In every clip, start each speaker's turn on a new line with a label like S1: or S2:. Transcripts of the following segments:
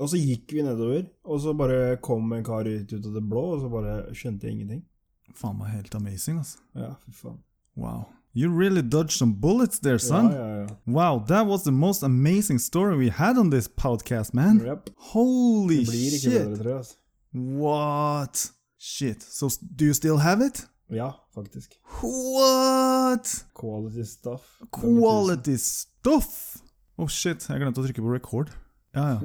S1: Og så gikk vi nedover, og så bare kom en kar ut, ut av det blå, og så bare skjønte jeg ingenting.
S2: Faen, det var helt amazing, altså.
S1: Ja, fy faen.
S2: Wow. You really dodged some bullets there,
S1: Ja,
S2: son.
S1: ja, ja.
S2: Wow, that was the most amazing story we had on this podcast, man.
S1: Japp.
S2: Holy
S1: Det blir ikke
S2: shit.
S1: bedre, tror jeg. Altså.
S2: What? Shit. So s- do you still have it?
S1: Ja, faktisk.
S2: What?
S1: Quality stuff.
S2: Quality stuff! Oh shit, jeg glemte å trykke på record. Ja, ja.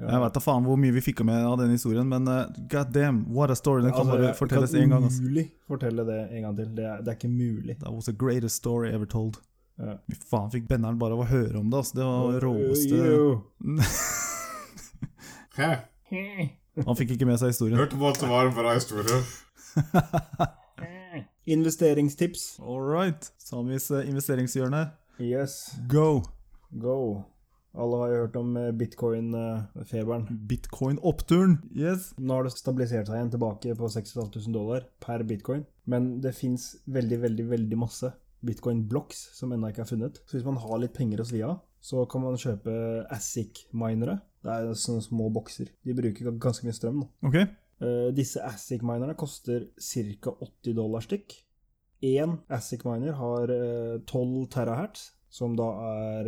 S2: Jeg vvet da faen hvor mye vi fikk med av den historien, men eh, god damn, what a story. Den kan bare fortelles én gang.
S1: altså,
S2: Altså.
S1: Kan umulig fortelle det en gang til. Det er, det er ikke mulig.
S2: That was the greatest story ever told.
S1: Ja.
S2: Fy faen, fikk Benner'n bare av å høre om det, altså. Det var det råeste
S1: Jo.
S3: Hæ?
S2: Han fikk ikke med seg historien.
S3: Hørte på at det var en bra historie.
S1: Investeringstips.
S2: All right. Samis eh, investeringshjørne,
S1: Yes,
S2: go!
S1: go. Alle har jo hørt om eh, bitcoin-feberen.
S2: Bitcoin-oppturen. Yes.
S1: Nå har det stabilisert seg igjen tilbake på 6500 dollar per bitcoin. Men det fins veldig, veldig, veldig masse bitcoin-blocks som ennå ikke er funnet. Så hvis man har litt penger å svi av, så kan man kjøpe ASIC-minere. Det er sånne små bokser. De bruker ganske mye strøm. Da.
S2: Ok.
S1: Eh, Disse ASIC-minerne koster ca. 80 dollar stykk. Én ASIC-miner har eh, 12 terahertz, som da er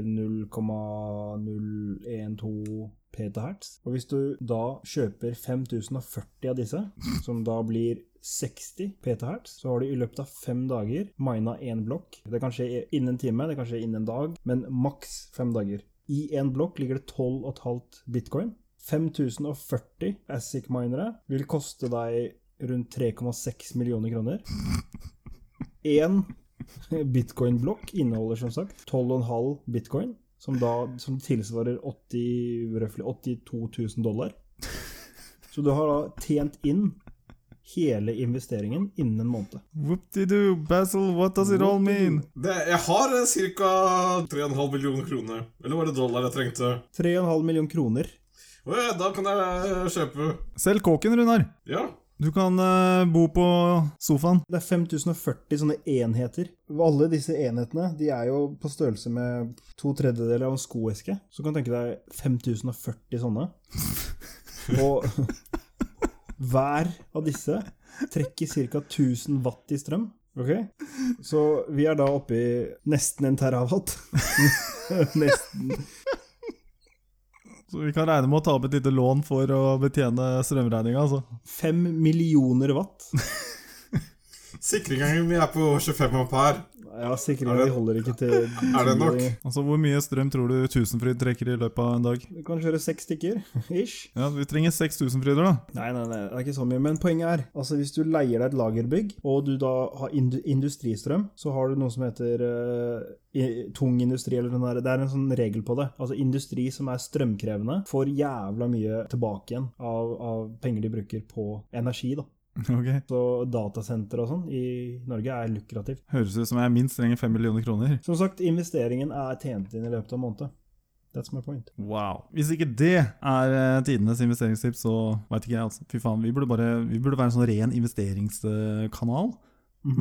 S1: 0,012 petahertz. Og hvis du da kjøper 5040 av disse, som da blir 60 petahertz, så har du i løpet av fem dager mina én blokk. Det kan skje innen en time, det kan skje innen en dag, men maks fem dager. I én blokk ligger det 12,5 bitcoin. 5040 ASIC-minere vil koste deg rundt 3,6 millioner kroner. Én bitcoin-blokk inneholder som sagt 12,5 bitcoin, som da som tilsvarer 80, røftlig 82 000 dollar. Så du har da tjent inn hele investeringen innen en måned.
S2: Whoop-de-doo, Basil, what does it all mean?
S3: Det, jeg har eh, ca. 3,5 millioner kroner. Eller var det dollar jeg trengte?
S1: 3,5 million kroner.
S3: Å ja, da kan jeg kjøpe.
S2: Selg kåken, Runar.
S3: Ja.
S2: Du kan eh, bo på sofaen.
S1: Det er 5040 sånne enheter. Og Alle disse enhetene de er jo på størrelse med to tredjedeler av en skoeske. Så du kan tenke deg 5040 sånne. Og hver av disse trekker ca. 1000 watt i strøm. Ok? Så vi er da oppe i nesten en terawatt. nesten.
S2: Så vi kan regne med å ta opp et lite lån for å betjene strømregninga, altså.
S1: Fem millioner watt.
S3: Sikringen min er på 25 ampere.
S1: Ja, sikringen de holder ikke til
S3: Er det nok?
S2: Altså, Hvor mye strøm tror du Tusenfryd trekker i løpet av en dag?
S1: Du kan kjøre seks stykker, ish.
S2: Ja, Vi trenger seks Tusenfryder, da.
S1: Nei, nei, nei, det er ikke så mye. Men poenget er, altså hvis du leier deg et lagerbygg, og du da har indu industristrøm, så har du noe som heter eh, i- tung industri, eller noe der. Det er en sånn regel på det. Altså industri som er strømkrevende, får jævla mye tilbake igjen av, av penger de bruker på energi, da.
S2: Ok.
S1: Så datasenter og sånn i Norge er lukrativt.
S2: Høres ut som jeg minst trenger fem millioner kroner.
S1: Som sagt, investeringen er tjent inn i løpet av en måned. That's my point.
S2: Wow. Hvis ikke det er eh, tidenes investeringstips, så veit ikke jeg, altså. Fy faen, vi burde, bare, vi burde være en sånn ren investeringskanal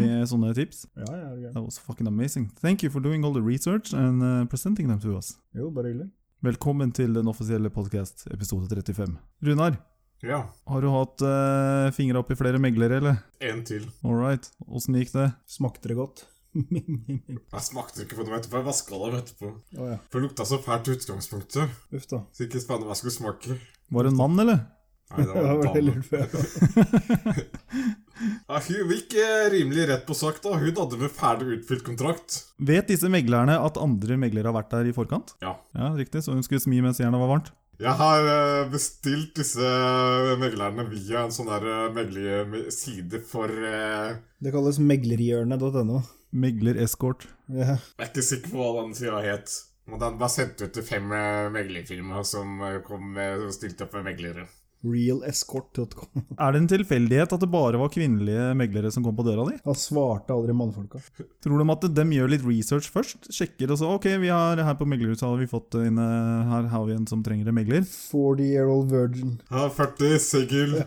S2: med sånne tips.
S1: Ja, ja, det er greit.
S2: That was fucking amazing. Thank you for doing all the research and uh, presenting them to us.
S1: Jo, bare hyggelig.
S2: Velkommen til den offisielle podcast, episode 35. Runar,
S3: Ja.
S2: har du hatt uh, fingra opp i flere meglere, eller?
S3: En til.
S2: All right, åssen gikk det?
S1: Smakte det godt? Å
S3: Jeg smakte ikke på dem etterpå. Jeg vaska dem etterpå.
S1: ja.
S3: For det lukta så fælt i utgangspunktet.
S1: Uff da.
S3: Så ikke spennende hva jeg skulle smake.
S2: Var det en mann, eller?
S3: Nei, det
S1: Det
S3: var
S1: var det jeg
S3: dame.
S1: lurte på. ja.
S3: Ja, hun gikk eh, rimelig rett på sak, da. Hun hadde med ferdig utfylt kontrakt.
S2: Vet disse meglerne at andre meglere har vært der i forkant?
S3: Ja.
S2: Ja, riktig, så hun skulle smi mens jernet var varmt?
S3: Jeg har eh, bestilt disse meglerne via en sånn der eh, meglerside for eh,
S1: Det kalles meglerhjørnet.no.
S2: Megler-escort.
S1: Ja.
S3: Jeg er ikke sikker på hva den sida het. Men den var sendt ut til fem eh, meglerfirmaer som eh, kom med, stilte opp med meglere.
S1: Realescort.com.
S2: Er det en tilfeldighet at det bare var kvinnelige meglere som kom på døra di?
S1: Han svarte aldri mannfolka.
S2: Tror de at de gjør litt research først? Sjekker og så Ok, vi har her på meglerhuset har vi fått inn eh, Her har vi en som trenger en megler.
S1: 40 year old virgin.
S3: Ja, 40 segl.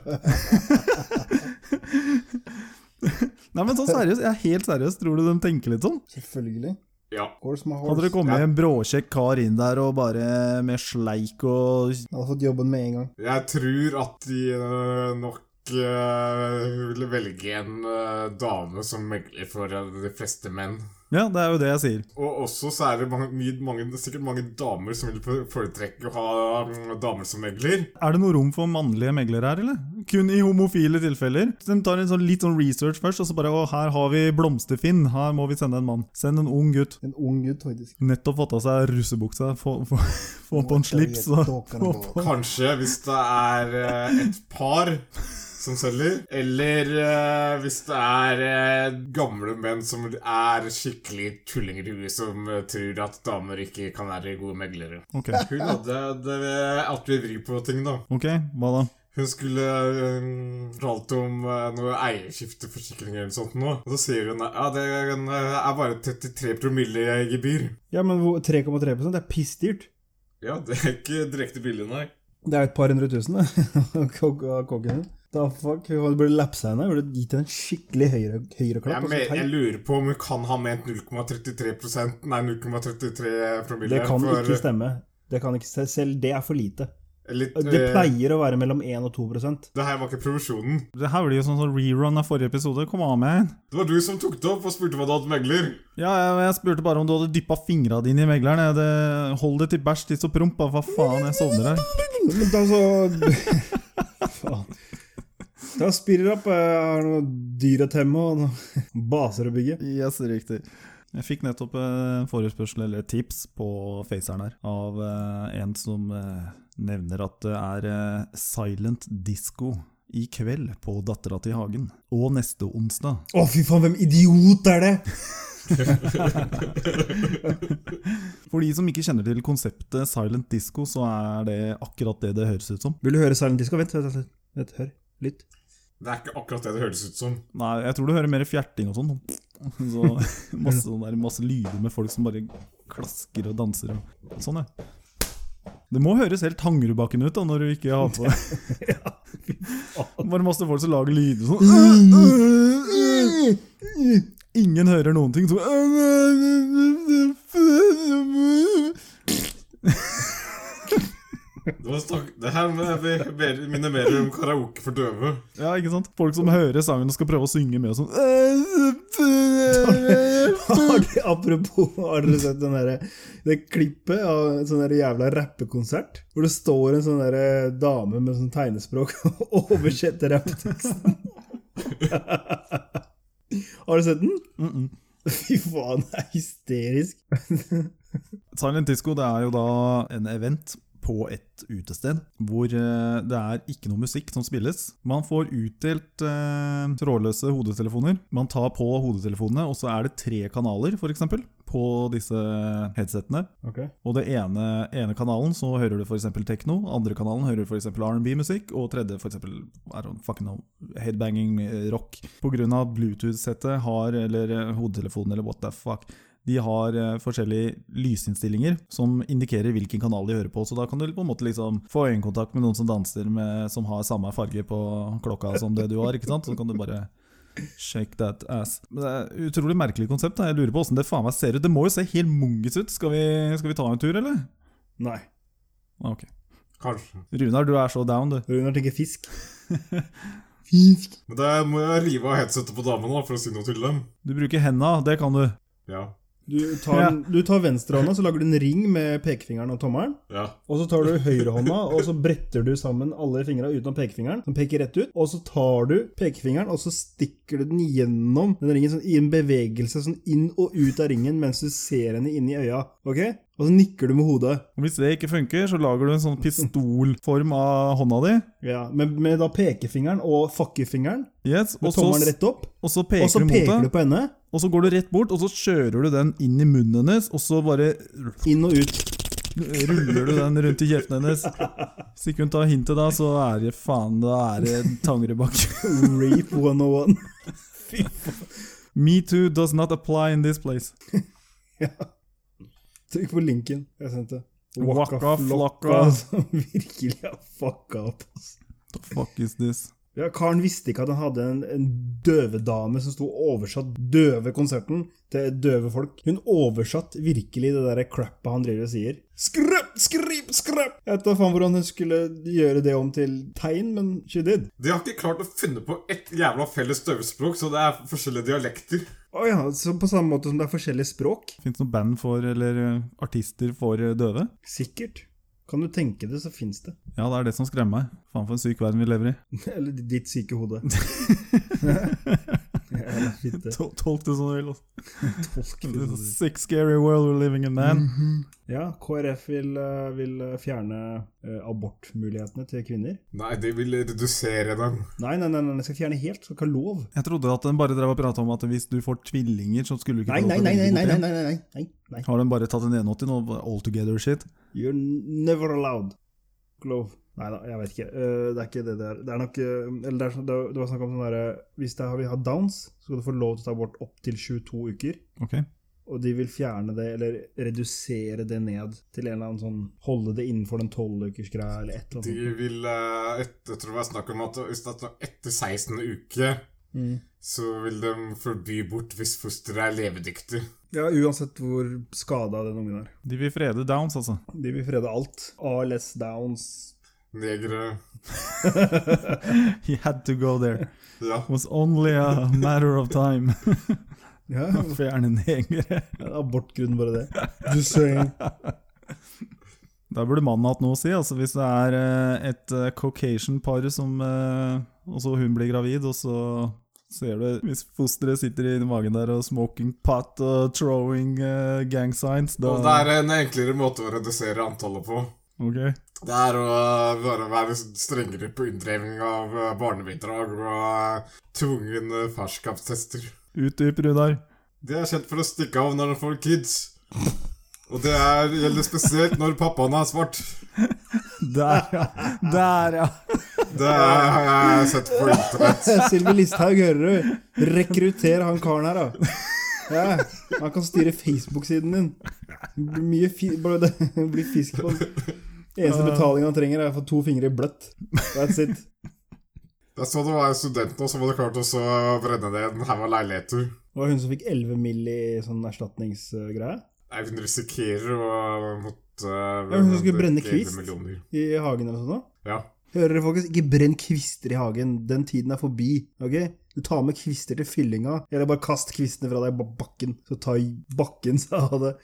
S2: Nei, men sånn seriøst, jeg er helt seriøst. Tror du de tenker litt sånn?
S1: Selvfølgelig.
S3: Ja.
S1: Horse my
S2: Hadde
S1: horse.
S2: det kommet en bråkjekk kar inn der og bare med sleik og
S1: Jeg hadde fått jobben med en gang.
S3: Jeg tror at de øh, nok øh, ville velge en øh, dame som megler for øh, de fleste menn.
S2: Ja, det er jo det jeg sier.
S3: Og også så er det mange, mye- mange, sikkert mange damer som vil foretrekke å ha øh, damer som megler.
S2: Er det noe rom for mannlige meglere her, eller? Kun i homofile tilfeller. De tar en sånn, litt sånn research først, og så bare Å, her har vi Blomsterfinn. Her må vi sende en mann. Send en ung gutt.
S1: En ung gutt, faktisk.
S2: Nettopp fått av seg russebuksa. Få, få, få på en slips. Og, få på.
S3: Kanskje hvis det er eh, et par som selger, eller eh, hvis det er eh, gamle menn som er skikkelig tullinger i huet som eh, tror at damer ikke kan være gode meglere.
S2: Ok,
S3: Hun hadde det at vi vrir på ting, da.
S2: ok, hva da?
S3: Hun skulle eh, fortalt om eh, noe eierskifteforsikring eller sånt nå. Og så sier hun ja, det er en, eh, er bare 33 promille i gebyr.
S1: Ja, men hvor- 3,3 det er pissdyrt.
S3: Ja, det er ikke direkte billig, nei.
S1: Det er jo et par hundre tusen, det. Kok- av kokken din. Da fuck, hun burde lapsa henne. Burde gitt henne en skikkelig høyre, høyreklapp.
S3: Jeg,
S1: og så
S3: men,
S1: teip.
S3: jeg lurer på om hun kan ha ment 0,33 Nei, 0,33 promille.
S1: Det kan
S3: for,
S1: ikke stemme. Det kan ikke, se- selv det er for lite.
S3: Litt,
S1: Det
S3: eh,
S1: pleier å være mellom 1 og 2 prosent.
S3: det her var ikke provisjonen.
S2: Det her blir jo sånn, sånn rerun av forrige episode. Kom an med en.
S3: Det var du som tok det opp og spurte hva du hadde megler.
S2: Ja, jeg, jeg spurte bare om du hadde dyppa fingra dine i megleren. jeg. Det, hold det til bæsj, tiss og promp. da. Hva faen, jeg sovner her.
S1: Men da så Faen. Da spirrer det opp. Jeg har noe dyr å temme og noen baser å bygge.
S2: Yes, riktig. Jeg fikk nettopp eh, forespørsel eller tips på Faceren her av eh, en som eh, nevner at det er eh, silent disco i kveld på Dattera til Hagen. Og neste onsdag.
S1: Å, fy faen, hvem idiot er det?!
S2: For de som ikke kjenner til konseptet silent disco, så er det akkurat det det høres ut som.
S1: Vil du høre Silent Disco? Vent, vent, vent, vent hør. Lytt.
S3: Det er ikke akkurat det det høres ut som.
S2: Nei, jeg tror du hører mer fjerting og sånn. Så masse, sånn der, masse lyder med folk som bare klasker og danser og sånn, ja. Det må høres helt Tangerudbakken ut da, når du ikke har på Bare masse folk som lager lyder sånn. Ingen hører noen ting. Så
S3: Det, var stak- det her må jeg be- minimerer om karaoke for døve.
S2: Ja, ikke sant? Folk som hører sangen og skal prøve å synge med og sånn.
S1: Har de- Apropos, har dere sett den der, det klippet av en sånn der jævla rappekonsert? Hvor det står en sånn der dame med sånn tegnespråk og oversetter rappeteksten. Har du sett den?
S2: Mm -mm.
S1: Fy faen, det er hysterisk.
S2: Silent Disco det er jo da en event på et utested hvor eh, det er ikke noe musikk som spilles. Man får utdelt eh, trådløse hodetelefoner. Man tar på hodetelefonene, og så er det tre kanaler for eksempel, på disse headsetene.
S1: Ok.
S2: Og det ene, ene kanalen så hører du f.eks. tekno, andre kanalen hører du f.eks. R&B-musikk, og tredje f.eks. fucking know, headbanging eh, rock. Pga. Bluetooth-settet har, eller eh, hodetelefonen, eller what the fuck, de har eh, forskjellige lysinnstillinger som indikerer hvilken kanal de hører på, så da kan du på en måte liksom få øyekontakt med noen som danser med, som har samme farge på klokka som det du har, ikke sant? Så kan du bare Shake that ass. Men det er et Utrolig merkelig konsept. da. Jeg lurer på hvordan det faen meg ser ut. Det må jo se helt mungis ut. Skal vi, skal vi ta en tur, eller?
S1: Nei.
S2: Ah, Ok.
S3: Kanskje.
S2: Runar, du er så down, du.
S1: Runar tenker fisk. Fisk.
S3: Men da må jeg rive av headsetet på damene da, for å si noe til dem.
S2: Du bruker henda, det kan du.
S3: Ja.
S1: Du tar, den- du tar venstrehånda, så lager du en ring med pekefingeren og tommelen.
S3: Ja.
S1: Og så tar du høyrehånda, og så bretter du sammen alle fingra utenom pekefingeren, som peker rett ut. Og så tar du pekefingeren, og så stikker du den gjennom den ringen sånn, i en bevegelse, sånn inn og ut av ringen mens du ser henne inn i øya. Ok? Og så nikker du med hodet.
S2: Og Hvis det ikke funker, så lager du en sånn pistolform av hånda di.
S1: Ja, Med, med da pekefingeren og fuckefingeren,
S2: Yes, og
S1: med
S2: så,
S1: tommelen rett opp.
S2: og så
S1: Og så
S2: peker du
S1: peker du
S2: mot det.
S1: på henne.
S2: Og så går du rett bort, og så kjører du den inn i munnen hennes, og så bare
S1: Inn og ut.
S2: ruller du den rundt i kjeften hennes. Hvis ikke hun tar hintet da, så er det faen, da er det Tangerudbakken.
S1: Rape 101.
S2: Me too does not apply in this place.
S1: Trykk på linken jeg sendte. altså.
S2: Waka flocka.
S1: som virkelig har fucka opp. ass.
S2: The fuck is this?
S1: Ja, Karen visste ikke at han hadde en, en døvedame som sto og oversatt døve konserten til døve folk. Hun oversatt virkelig det der crappet han driver og sier. Skrøp, skrip, skrøp! Jeg vet da faen hvordan hun skulle gjøre det om til tegn, men she did.
S3: De har ikke klart å finne på ett jævla felles døvespråk, så det er forskjellige dialekter.
S1: Å ja, så på samme måte som det er forskjellige språk?
S2: Fins det noen band for, eller eh, artister for eh, døve?
S1: Sikkert. Kan du tenke det, så fins det.
S2: Ja, det er det som skremmer meg. Faen for en syk verden vi lever i.
S1: Eller ditt syke hode. Eller fitte.
S2: Tol- Tolk det som du vil. altså.
S1: Tolk det som
S2: This
S1: du-
S2: is a sick, scary world we're living in, man.
S1: Mhm. Ja, KrF vil, eh, vil eh, fjerne eh, abortmulighetene til kvinner.
S3: Nei, de vil redusere dem.
S1: Nei, nei, nei, nei, jeg skal fjerne helt. Skal ikke ha lov.
S2: Jeg trodde at den bare drev og prata om at hvis du får tvillinger, så skulle du ikke
S1: Nei,
S2: få
S1: nei,
S2: lov til å
S1: nei,
S2: velge
S1: nei, nei,
S2: bort
S1: nei,
S2: en.
S1: nei, nei, nei, nei.
S2: Har den bare tatt en 81 og all together shit?
S1: You're never allowed. Glove. Nei da, jeg vet ikke. Eh, det er ikke det der. Det er nok eh, Eller det, er, sånn- det det var snakk om sånn derre Hvis det er, vi har downs, så skal du få lov til å ta abort opptil 22 uker.
S2: Ok.
S1: Og de vil fjerne det, eller redusere det ned til en eller annen sånn Holde det innenfor den 12-ukersgreia, eller et eller
S3: De
S1: annet.
S3: vil eh, etter, Jeg tror det var snakk om at hvis det er etter 16. uke,
S1: sånt. Mm.
S3: så vil de forby bort hvis fosteret er levedyktig.
S1: Ja, uansett hvor skada den ungen er.
S2: De vil frede Downs, altså.
S1: De vil frede alt. ALS Downs.
S3: Negere
S2: He had to go there.
S3: Ja.
S2: Was only a matter of time.
S1: Ja,
S2: Fjerne negere.
S1: abortgrunn, bare det. Just saying.
S2: Der burde mannen hatt noe å si. altså Hvis det er eh, et eh, caucasian par som eh, Og så hun blir gravid, og så ser du Hvis fosteret sitter i magen der og smoking pot og throwing eh, gang signs, da
S3: Og det er en enklere måte å redusere antallet på.
S2: Ok.
S3: Det er å bare være strengere på inndriving av eh, barnebidrag og eh, tvungne farskapstester.
S2: Utdyp, Runar.
S3: De er kjent for å stikke av når de får kids. Og det er, gjelder spesielt når pappaen er svart.
S2: Der, ja! Der, ja!
S3: Det har jeg sett på internett.
S1: Sylvi Listhaug, hører du? Rekrutter han karen her, da. Ja, han kan styre Facebook-siden din. Det blir Mye fi bare det blir fisk på den. Eneste betalingen han trenger, er å få to fingre i bløtt. That's it.
S3: Jeg så det var en student nå som hadde klart å så brenne ned en haug av leiligheter.
S1: Det var hun som fikk 11 mill. i sånn erstatningsgreie
S3: Jeg kunne risikere å måtte eh,
S1: Ja, hun som skulle brenne
S3: bruke
S1: kvist.
S3: 11 millioner.
S1: i hagen eller sånn. da.
S3: Ja.
S1: Hører dere, folkens? Ikke brenn kvister i hagen. Den tiden er forbi. ok? Du tar med kvister til fyllinga, eller bare kast kvistene fra deg i ba- bakken. Så tar bakken seg av det.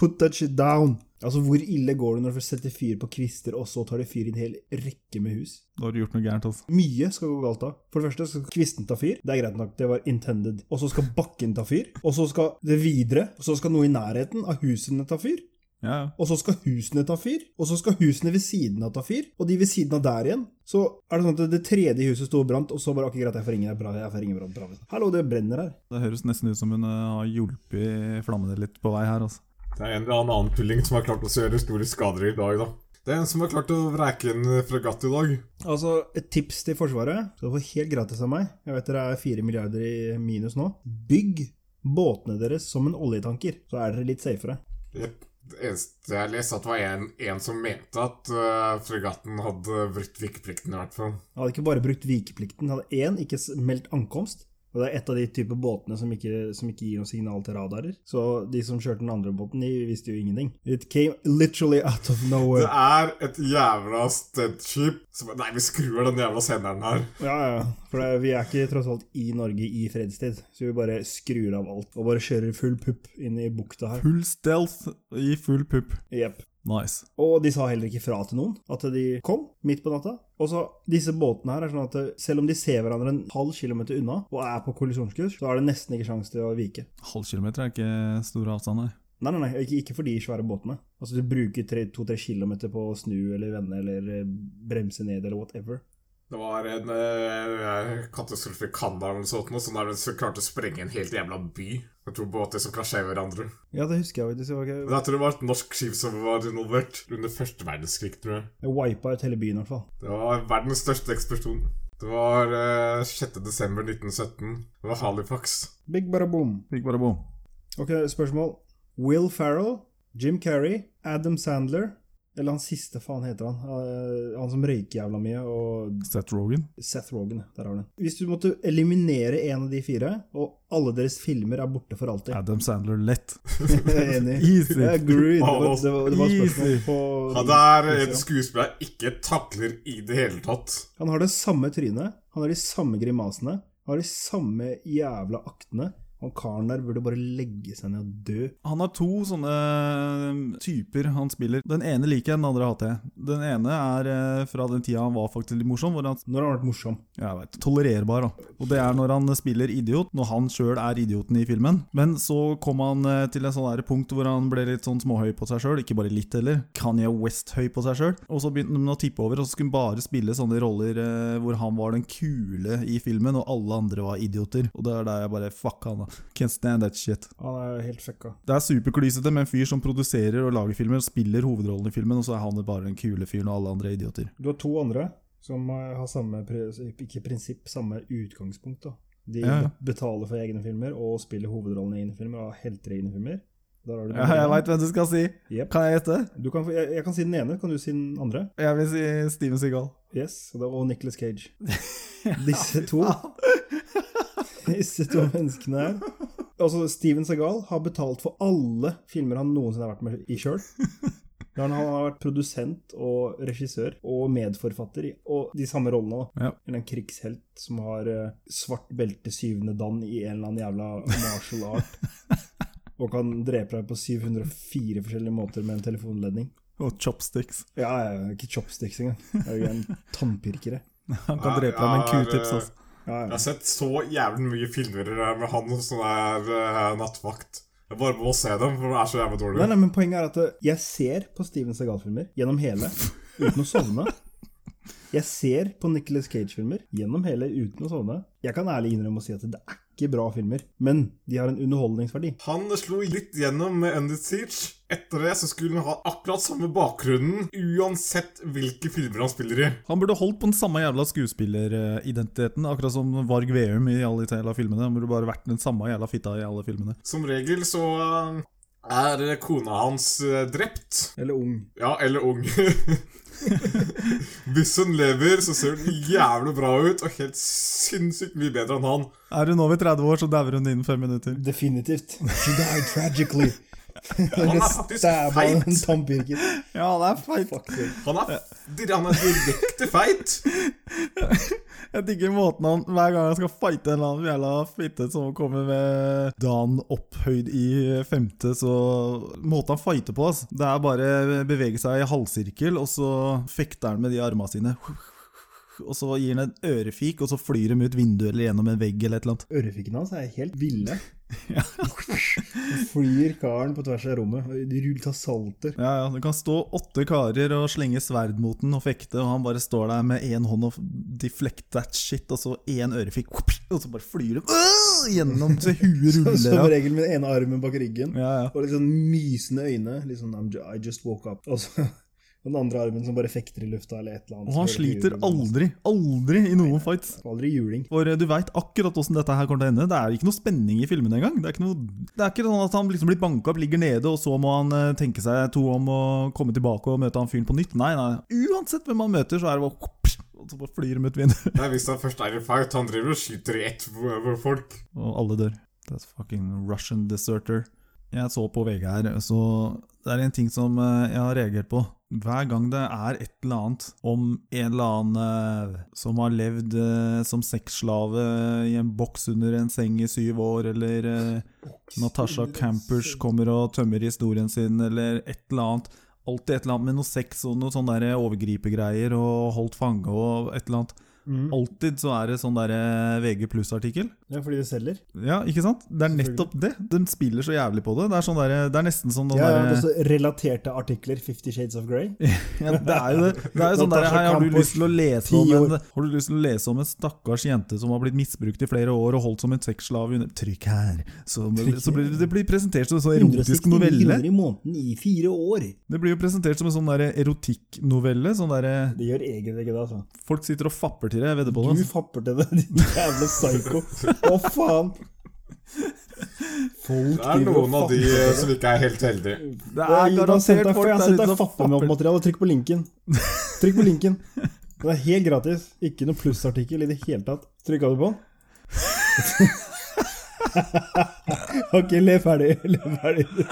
S1: Put that shit down. Altså, Hvor ille går det når du først setter fyr på kvister, og så tar de fyr i en hel rekke med hus?
S2: Da har du gjort noe gærent, altså.
S1: Mye skal gå galt da. For det første skal kvisten ta fyr. Det er greit nok, det var intended. Og så skal bakken ta fyr. Og så skal det videre. Og så skal noe i nærheten av husene ta fyr.
S2: Ja, ja.
S1: Og så skal husene ta fyr, og så skal husene ved siden av ta fyr, og de ved siden av der igjen. Så er det sånn at det tredje huset sto og brant, og så bare ok, greit, jeg får ringe deg, bra, jeg får ringe brann, bra. Hallo, det brenner her.
S2: Det høres nesten ut som hun eh, har hjulpet flammene litt på vei her, altså.
S3: Det er en eller annen tulling som har klart å gjøre store skader i dag, da. Det er en som har klart å vreke en fregatt i dag.
S1: Altså, et tips til Forsvaret, så det får helt gratis av meg, jeg vet dere er fire milliarder i minus nå, bygg båtene deres som en oljetanker, så er dere litt safere.
S3: Jep. Det eneste jeg leste, at det var en, en som mente at eh, fregatten hadde brutt vikeplikten, i hvert fall.
S1: Jeg hadde ikke bare brukt vikeplikten, jeg hadde én ikke s- meldt ankomst. Og det er et av de type båtene som ikke, som ikke gir noe signal til radarer. Så de som kjørte den andre båten, de visste jo ingenting. It came literally out of
S3: Det
S1: nowhere.
S3: er et jævla steadship som Nei, vi skrur den jævla senderen her.
S1: Ja, ja. For det, vi er ikke tross alt i Norge i fredstid, så vi bare skrur av alt og bare kjører full pupp inn i bukta her.
S2: Full stealth i full pupp.
S1: Jepp.
S2: Nice.
S1: Og de sa heller ikke fra til noen at de kom midt på natta. Og så, disse båtene her er sånn at selv om de ser hverandre en halv kilometer unna og er på kollisjonskurs, så er det nesten ikke sjanse til å vike.
S2: Halv kilometer er ikke store avstander.
S1: Nei, nei, nei, ikke, ikke for de svære båtene. Altså, du bruker tre- to-tre kilometer på å snu eller vende eller eh, bremse ned eller whatever.
S3: Det var en eh, katastrofe i Canada eller noe sånt, nå, som nærmest klarte å sprenge en helt jævla by. Med to båter som krasja i hverandre.
S1: Ja, det husker jeg faktisk. Det var
S3: Men
S1: ikke-
S3: jeg tror det var et norsk skip som var involvert under første verdenskrig, tror jeg.
S1: Jeg wipa ut hele byen, i hvert fall.
S3: Det var verdens største eksplosjon. Det var eh, 6. desember 1917. Det var Halifax.
S1: Big bara boom.
S2: Fikk bare bom.
S1: Ok, spørsmål. Will Farrell, Jim Carrey, Adam Sandler, Eller han siste, faen heter han. Eh, Han som røyker jævla mye, og
S2: Seth Rogan.
S1: Seth Rogan, ja, der har du den. Hvis du måtte eliminere en av de fire, og alle deres filmer er borte for alltid
S2: Adam Sandler lett.
S1: Jeg er enig.
S2: Easy.
S1: Jeg agreed. Det var, det var, det var
S2: Easy.
S1: spørsmål på
S3: Han er en skuespiller jeg ikke takler i det hele tatt.
S1: Han har det samme trynet, han har de samme grimasene, han har de samme jævla aktene. Han karen der burde bare legge seg ned og dø.
S2: Han har to sånne eh, typer han spiller. Den ene liker jeg, den andre hater jeg. Den ene er eh, fra den tida han var faktisk litt morsom, hvor han
S1: Når har han vært morsom?
S2: jeg vet, tolererbar. Da. Og det er når han spiller idiot, når han sjøl er idioten i filmen. Men så kom han eh, til en sånn der punkt hvor han ble litt sånn småhøy på seg sjøl, ikke bare litt heller. Kanye West-høy på seg sjøl. Og så begynte han å tippe over, og så skulle han bare spille sånne roller eh, hvor han var den kule i filmen, og alle andre var idioter. Og det er der jeg bare fuck han, da. Can't stand that shit.
S1: Han er helt fucka.
S2: Det er superklysete med en fyr som produserer og lager filmer, og spiller hovedrollen i filmen, og så er han bare den kule fyren, og alle andre er idioter.
S1: Du har to andre som eh, har samme, pri- ikke prinsipp, samme utgangspunkt. da. De
S2: Ja, ja.
S1: betaler for egne filmer og spiller hovedrollen i egne filmer og har helter i egne filmer. Der har du
S2: Ja, jeg veit hvem du skal si!
S1: Jep.
S2: Kan jeg gjette?
S1: Du kan, få- jeg, jeg kan si den ene, kan du si den andre?
S2: Jeg vil si Steven Seagal.
S1: Yes, og det- og Nicolas Cage. Disse to Disse to menneskene her. Altså, Steven Segal har betalt for alle filmer han noensinne har vært med i sjøl. Han har vært produsent og regissør og medforfatter i og de samme rollene. da.
S2: Ja.
S1: En eller annen krigshelt som har eh, svart belte syvende dan i en eller annen jævla martial art. Og kan drepe deg på 704 forskjellige måter med en telefonledning.
S2: Og chopsticks.
S1: Ja, ja, ja, ikke chopsticks engang. Det er jo en tannpirkere.
S2: Han kan drepe deg med en
S3: Jeg er, eh,
S2: q-tips. Altså.
S1: Ja,
S3: Jeg
S1: ja.
S3: har sett så jævlig mye filmer der med han som er eh, nattvakt. Jeg bare må se dem, for det er så jævlig
S1: Nei,
S3: dårlig.
S1: nei, men Poenget er at eh, jeg ser på Steven Segal-filmer gjennom hele uten å sovne. Jeg ser på Nicolas Cage-filmer gjennom hele uten å sovne. Jeg kan ærlig innrømme å si at det er ikke bra filmer, men de har en underholdningsverdi.
S3: Han slo litt gjennom med Ended Siege. Etter det så skulle han ha akkurat samme bakgrunnen uansett hvilke filmer han spiller i.
S2: Han burde holdt på den samme jævla skuespilleridentiteten, akkurat som Varg Veum i alle de jævla filmene. Han burde bare vært den samme jævla fitta i alle filmene.
S3: Som regel så eh, er kona hans eh, drept.
S1: Eller ung.
S3: Ja, eller ung. Hvis hun lever, så ser hun jævlig bra ut, og helt sinnssykt mye bedre enn han.
S2: Er hun over 30 år, så dauer hun innen fem minutter.
S1: Definitivt. She died tragically.
S3: Han er faktisk
S1: Stabba en
S3: feit.
S1: tannpirker.
S2: Ja, det er feit.
S1: Fuck sake.
S3: Han er, dir- han er direkte feit.
S2: Jeg digger måten han Hver gang han skal fighte en eller annen jævla fitte som kommer med Dan opphøyd i femte, så Måten han fighter på, ass. Det er bare bevege seg i halvsirkel, og så fekter han med de armene sine. Og så gir han en ørefik, og så flyr de ut vinduet eller gjennom en vegg eller et eller annet.
S1: Ørefikkene hans er helt ville. Flyr karen på tvers av rommet. De ruller av salter.
S2: Ja, ja, Det kan stå åtte karer og slenge sverd mot den og fekte, og han bare står der med én hånd og deflect that shit, og så én ørefik, og så bare flyr de øh, gjennom til huet ruller.
S1: Som
S2: av.
S1: regel med den ene armen bak ryggen.
S2: Ja, ja.
S1: Og litt sånn mysende øyne. Litt sånn I'm ju I just woke up. Og så og den andre armen som bare fekter i lufta eller et eller annet.
S2: Og han
S1: Så hører du
S2: sliter
S1: juling.
S2: aldri, aldri i noen fights.
S1: Aldri juling.
S2: For eh, du veit akkurat åssen dette her kommer til å ende. Det er ikke noe spenning i filmene engang. Det er ikke, noe, det er ikke sånn at han liksom blir banka opp, ligger nede, og så må han eh, tenke seg to om å komme tilbake og møte han fyren på nytt. Nei, nei. Uansett hvem han møter, så er det bare og så bare flyr de ut vinduet,
S3: Nei, Hvis han først er i fight, han driver og skyter i ett hvor- hvor folk.
S2: og alle dør. That's fucking Russian deserter. Jeg så på VG her, så det er en ting som eh, jeg har reagert på. Hver gang det er et eller annet om en eller annen eh, som har levd eh, som sexslave i en boks under en seng i syv år, eller eh, Natasha Campers kommer og tømmer historien sin, eller et eller annet. Alltid et eller annet med noe sex og noe sånn der overgripegreier og holdt fange og et eller annet. Alltid så er det sånn der eh, VG pluss-artikkel.
S1: Mm. Ja, fordi det selger.
S2: Ja, ikke sant? Det er nettopp det. De spiller så jævlig på det. Det er, sånn der, det er nesten sånn den
S1: Ja, ja,
S2: derre-
S1: også relaterte artikler. Fifty Shades of Grey.
S2: ja, det er jo det. Det er jo sånn der,
S1: Natasha
S2: hei, har, du
S1: Campos,
S2: lyst til å lese
S1: ti
S2: om en,
S1: år.
S2: har du lyst til å lese om en stakkars jente som har blitt misbrukt i flere år og holdt som en sexslave under Trykk her! Så, så blir det blir presentert som en sånn erotisk
S1: 169
S2: novelle.
S1: kroner i måneden i fire år.
S2: Det blir jo presentert som en sånn der erotikknovelle. Sånn der,
S1: Det gjør egentlig ikke det, altså.
S2: folk sitter og fapper til det, jeg vedder på
S1: Du
S2: det. altså.
S1: fapper til det, din jævla psyko. Å, faen! Folk
S3: Det er
S1: driver og
S3: noen av de
S1: fatter-
S3: eh, som ikke er helt heldige.
S2: Det
S1: Oi,
S2: er
S1: nå
S2: garantert
S1: sendte jeg-
S2: folk
S1: Jeg har
S2: der
S1: sendt
S2: ute
S1: deg
S2: og
S1: fatta med opp
S2: fapper.
S1: materiale. Trykk på linken. Trykk på linken. Det er helt gratis. Ikke noe plussartikkel i det hele tatt. Trykka du på den? ok, le ferdig. Le ferdig.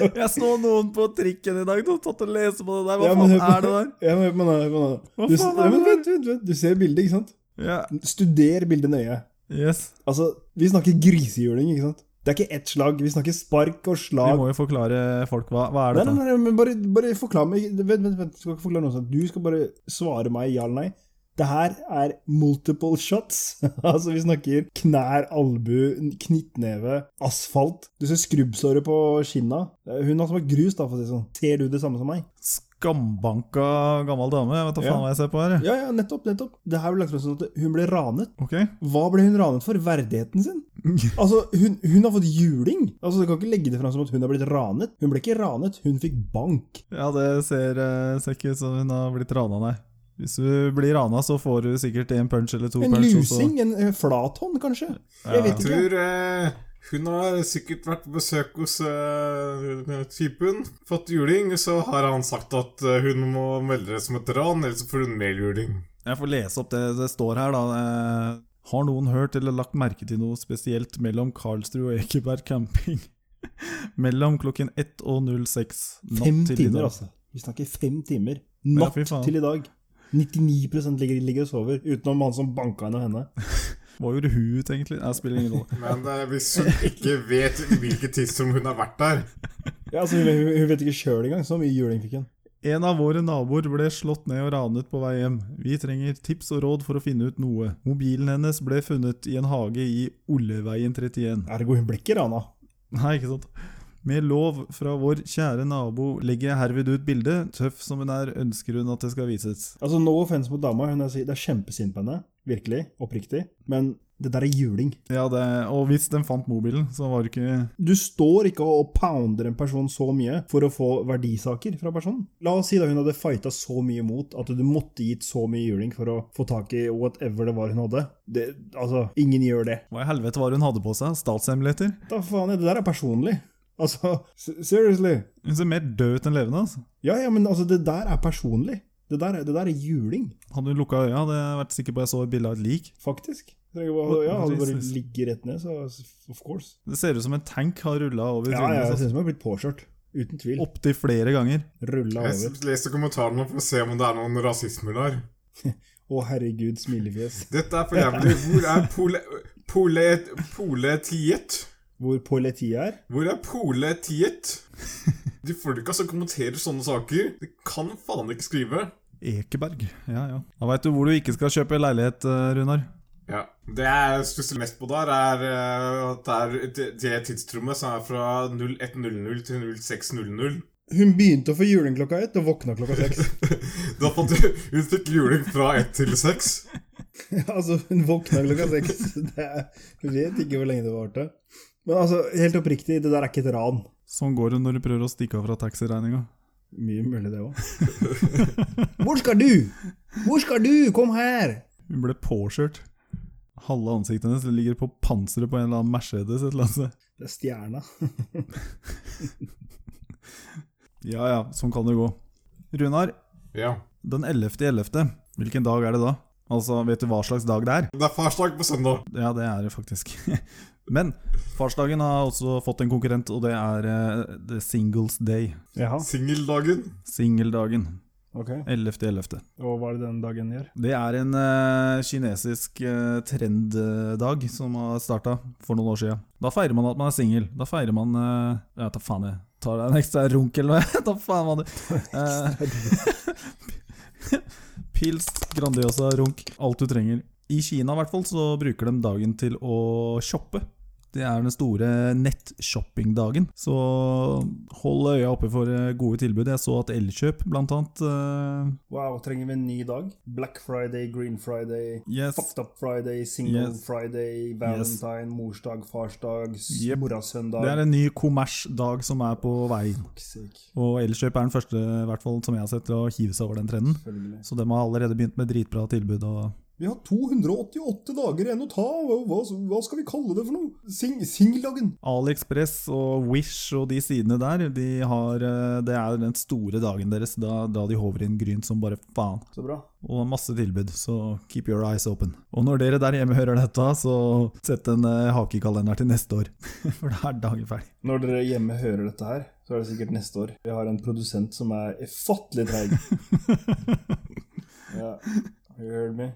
S2: Jeg så noen på trikken i dag som satt og leste på det der. Hva
S1: Ja, men hør
S2: faen
S1: på-
S2: er det der?
S1: Ja, men hør på den her, hør på den her.
S2: Hva
S1: Du,
S2: faen er
S1: ja, men
S2: det der?
S1: vent, vent, vent. du ser bildet, ikke sant?
S2: Ja,
S1: Studer bildet nøye.
S2: yes.
S1: Altså, vi snakker grisehjuling, ikke sant? Det er ikke ett slag, vi snakker spark og
S2: Vi
S1: slag.
S2: må jo forklare folk hva, hva er
S1: Nei,
S2: dette
S1: nei, nei, men bare, bare forklar meg Vent, vent, vent, skal ikke forklare noe sånt. Du skal bare svare meg ja eller nei. Det her er multiple shots. altså, vi snakker knær, albu, knyttneve, asfalt. Du ser skrubbsåret på kinna. Eh, Hun har smakt grus, da, for å si det sånn. Ser du det samme som meg?
S2: Skambanka gammel dame. Jeg vet da
S1: Ja.
S2: faen hva jeg ser på her. jeg.
S1: Ja, ja, nettopp, nettopp. Det her ble lagt frem sånn at hun ble ranet.
S2: Ok.
S1: Hva ble hun ranet for? Verdigheten sin? Altså, hun, hun har fått juling. Altså, Du kan ikke legge det frem som at hun har blitt ranet. Hun ble ikke ranet, hun fikk bank.
S2: Ja, det ser, eh, ser ikke ut som hun har blitt rana, nei. Hvis du blir rana, så får du sikkert en punch eller to
S1: En
S2: punch. og så-
S1: lusing? En eh, flathånd, kanskje?
S2: Ja.
S1: Jeg vet
S3: Jeg
S1: ikke.
S3: tror eh, hun har sikkert vært på besøk hos eh, typen, fått juling, så har han sagt at eh, hun må melde det som et ran, ellers så får hun mer juling.
S2: Jeg får lese opp det det står her, da. Eh, Har noen hørt eller lagt merke til noe spesielt mellom Karlsrud og Ekeberg camping? mellom klokken 1 og 06 natt
S1: Fem
S2: til i
S1: timer,
S2: dag.
S1: altså. Vi snakker fem timer.
S2: Ja,
S1: Natt
S2: fy faen.
S1: til i dag. 99 ligger, ligger og sover, utenom han som banka henne og henne.
S2: Hva gjorde hun ut, egentlig? Nei, spiller ingen rolle.
S3: Men eh, hvis hun ikke vet hvilket tidsrom hun har vært der
S1: Ja, altså, hun, hun hun vet ikke sjøl engang så mye juling fikk hun.
S2: En av våre naboer ble slått ned og ranet på vei hjem. Vi trenger tips og råd for å finne ut noe. Mobilen hennes ble funnet i en hage i Olleveien 31.
S1: Ergo, hun ble ikke rana.
S2: Nei, ikke sant. Med lov fra vår kjære nabo legger jeg herved ut bildet. Tøff som hun er, ønsker hun at det skal vises.
S1: Altså, No offense mot dama, hun er, si- det er kjempesint på henne. Virkelig. Oppriktig. Men det der er juling.
S2: Ja, det, og hvis den fant mobilen, så var det ikke
S1: Du står ikke og pounder en person så mye for å få verdisaker fra personen. La oss si da hun hadde fighta så mye mot at du måtte gitt så mye juling for å få tak i whatever det var hun hadde. Det, altså, ingen gjør det.
S2: Hva i helvete var det hun hadde på seg? Statshemmeligheter?
S1: Da faen, det der er personlig. Altså, s- seriously.
S2: Hun ser mer død ut enn levende. altså.
S1: Ja, ja, men altså, det der er personlig. Det der, er- det der er juling,
S2: Hadde hun lukka øya, hadde jeg vært sikker på at jeg så et bilde av et lik.
S1: faktisk. Det er bare, ja, han bare
S2: Jesus.
S1: ligger rett ned, så altså, of course.
S2: Det ser ut som en tank har rulla over
S1: Ja, ja, jeg
S2: trynet.
S1: synes hun har blitt påkjørt. Uten
S2: Ja,
S1: tvil.
S2: Opptil flere ganger.
S1: Rulla over.
S3: Jeg leser kommentarene for å se om det er noen rasismer der.
S1: Å, herregud, smilefjes.
S3: Dette er for jævlig. Hvor er pole... Pole... Poletiet?
S1: Hvor politiet er.
S3: Hvor er poletiet? De folka som kommenterer sånne saker, de kan faen ikke skrive.
S2: Ekeberg. Ja, ja. Da veit du hvor du ikke skal kjøpe leilighet, eh, Runar.
S3: Ja. Det jeg stusser mest på der, er eh, at det er det- det tidsrommet som er fra 01.00 til 06.00.
S1: Hun begynte å få juling klokka ett og våkna klokka seks.
S3: Da fant du Hun fikk juling fra 1 til 6.
S1: altså, hun våkna klokka seks. Det er, jeg vet ikke hvor lenge det varte. Men altså, helt oppriktig, det der er ikke et ran.
S2: Sånn går det når du prøver å stikke av fra taxiregninga.
S1: Mye mulig, det òg. Hvor skal du? Hvor skal du? Kom her!
S2: Hun ble påkjørt. Halve ansiktet hennes ligger på panseret på en eller annen Mercedes et eller annet sted.
S1: Det er stjerna.
S2: Ja ja, sånn kan det gå. Runar,
S3: Ja.
S2: Den 11. 11. Hvilken dag er det da? Altså, vet du hva slags dag det er?
S3: Det er farsdag på søndag.
S2: Ja, det er det faktisk. Men farsdagen har også fått en konkurrent, og det er eh, The Singles Day.
S1: Jaha,
S3: Singeldagen.
S2: Singeldagen.
S1: ok.
S2: 11.11. 11.
S1: Og hva er det den dagen gjør?
S2: Det er en eh, kinesisk eh, trenddag som har starta for noen år siden. Da feirer man at man er singel. Da feirer man eh, Ja, ta faen, jeg tar deg en ekstra runk eller noe. ta faen man det. Eh, Pils, Grandiosa, runk. Alt du trenger. I Kina i hvert fall så bruker de dagen til å shoppe. Det er den store nettshoppingdagen, så hold øya oppe for eh, gode tilbud. Jeg så at Elkjøp blant annet eh,
S1: Wow, trenger vi en ny dag? Black Friday, Green Friday,
S2: Yes.
S1: Fucked Up Friday, Single
S2: Yes.
S1: Friday, Valentine, morsdag, farsdag, s-
S2: Yep.
S1: morasøndag
S2: Det er en ny kommersdag som er på veien.
S1: Fucksake,
S2: Og Elkjøp er den første i hvert fall, som jeg har sett til å hive seg over den trenden.
S1: Selvfølgelig.
S2: Så de har allerede begynt med dritbra tilbud. Og
S4: Vi har 288 dager igjen å ta, og hva, hva skal vi kalle det for noe? Sing Singeldagen!
S2: AliExpress og Wish og de sidene der, de har, eh, det er den store dagen deres da, da de håver inn grynt som bare faen.
S5: Så bra.
S2: Og masse tilbud, så keep your eyes open. Og når dere der hjemme hører dette, så sett en eh, hake i kalenderen til neste år, for da er dagen ferdig.
S5: Når dere hjemme hører dette her, så er det sikkert neste år. Vi har en produsent som er ufattelig treig. ja, you heard me.